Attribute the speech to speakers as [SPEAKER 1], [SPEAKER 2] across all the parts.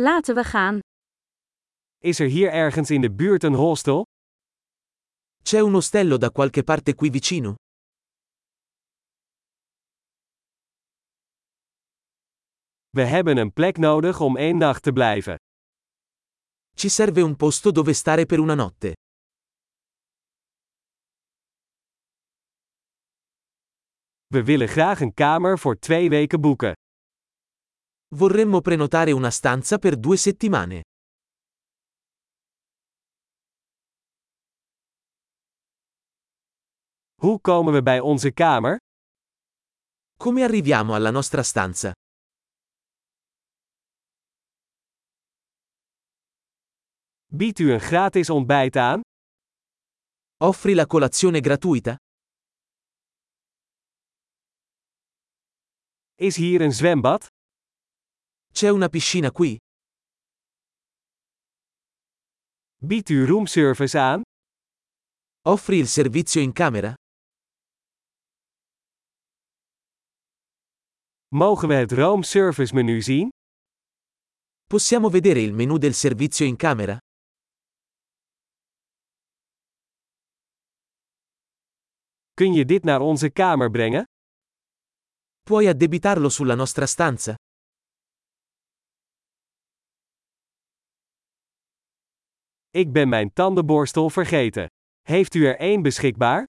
[SPEAKER 1] Laten we gaan.
[SPEAKER 2] Is er hier ergens in de buurt een hostel?
[SPEAKER 3] C'è un ostello da qualche parte qui vicino?
[SPEAKER 2] We hebben een plek nodig om één nacht te blijven.
[SPEAKER 3] Ci serve un posto dove stare per una notte.
[SPEAKER 2] We willen graag een kamer voor twee weken boeken.
[SPEAKER 3] Vorremmo prenotare una stanza per due settimane.
[SPEAKER 2] Hoe komen we bij onze kamer?
[SPEAKER 3] Come arriviamo alla nostra stanza?
[SPEAKER 2] Biedt u een gratis ontbijt aan?
[SPEAKER 3] Offri la colazione gratuita?
[SPEAKER 2] Is hier een zwembad?
[SPEAKER 3] C'è una piscina qui?
[SPEAKER 2] Biedt u roomservice aan?
[SPEAKER 3] Offri il servizio in camera?
[SPEAKER 2] Mogen we het roomservice menu zien?
[SPEAKER 3] Possiamo vedere il menu del servizio in camera?
[SPEAKER 2] Kun je dit naar onze kamer brengen?
[SPEAKER 3] Puoi addebitarlo sulla nostra stanza?
[SPEAKER 2] Ik ben mijn tandenborstel vergeten. Heeft u er één beschikbaar?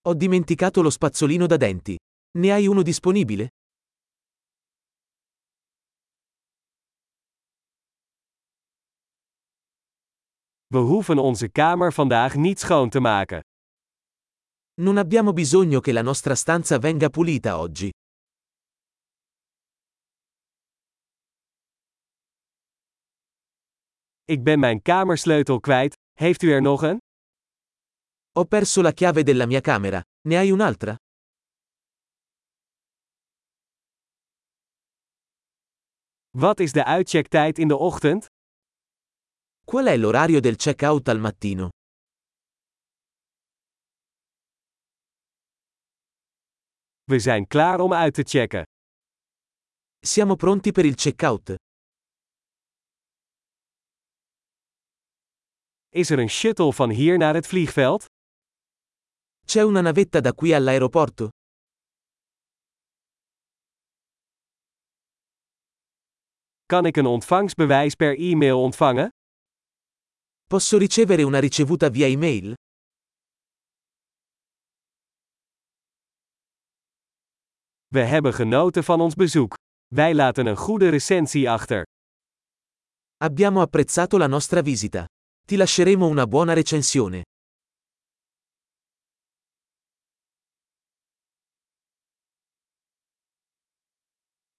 [SPEAKER 3] Ho dimenticato lo spazzolino da denti. Ne hai uno disponibile?
[SPEAKER 2] We hoeven onze kamer vandaag niet schoon te maken.
[SPEAKER 3] Non abbiamo bisogno che la nostra stanza venga pulita oggi.
[SPEAKER 2] Ik ben mijn kamersleutel kwijt. Heeft u er nog een?
[SPEAKER 3] Ho perso la chiave della mia camera. Ne hai un'altra?
[SPEAKER 2] Wat is de uitchecktijd in de ochtend?
[SPEAKER 3] Qual è l'orario del check-out al mattino?
[SPEAKER 2] We zijn klaar om uit te checken.
[SPEAKER 3] Siamo pronti per il check-out.
[SPEAKER 2] Is er een shuttle van hier naar het vliegveld?
[SPEAKER 3] C'è una navetta da qui all'aeroporto?
[SPEAKER 2] Kan ik een ontvangstbewijs per e-mail ontvangen?
[SPEAKER 3] Posso ricevere una ricevuta via email?
[SPEAKER 2] We hebben genoten van ons bezoek. Wij laten een goede recensie achter.
[SPEAKER 3] Abbiamo apprezzato la nostra visita. Ti lasceremo una buona recensione.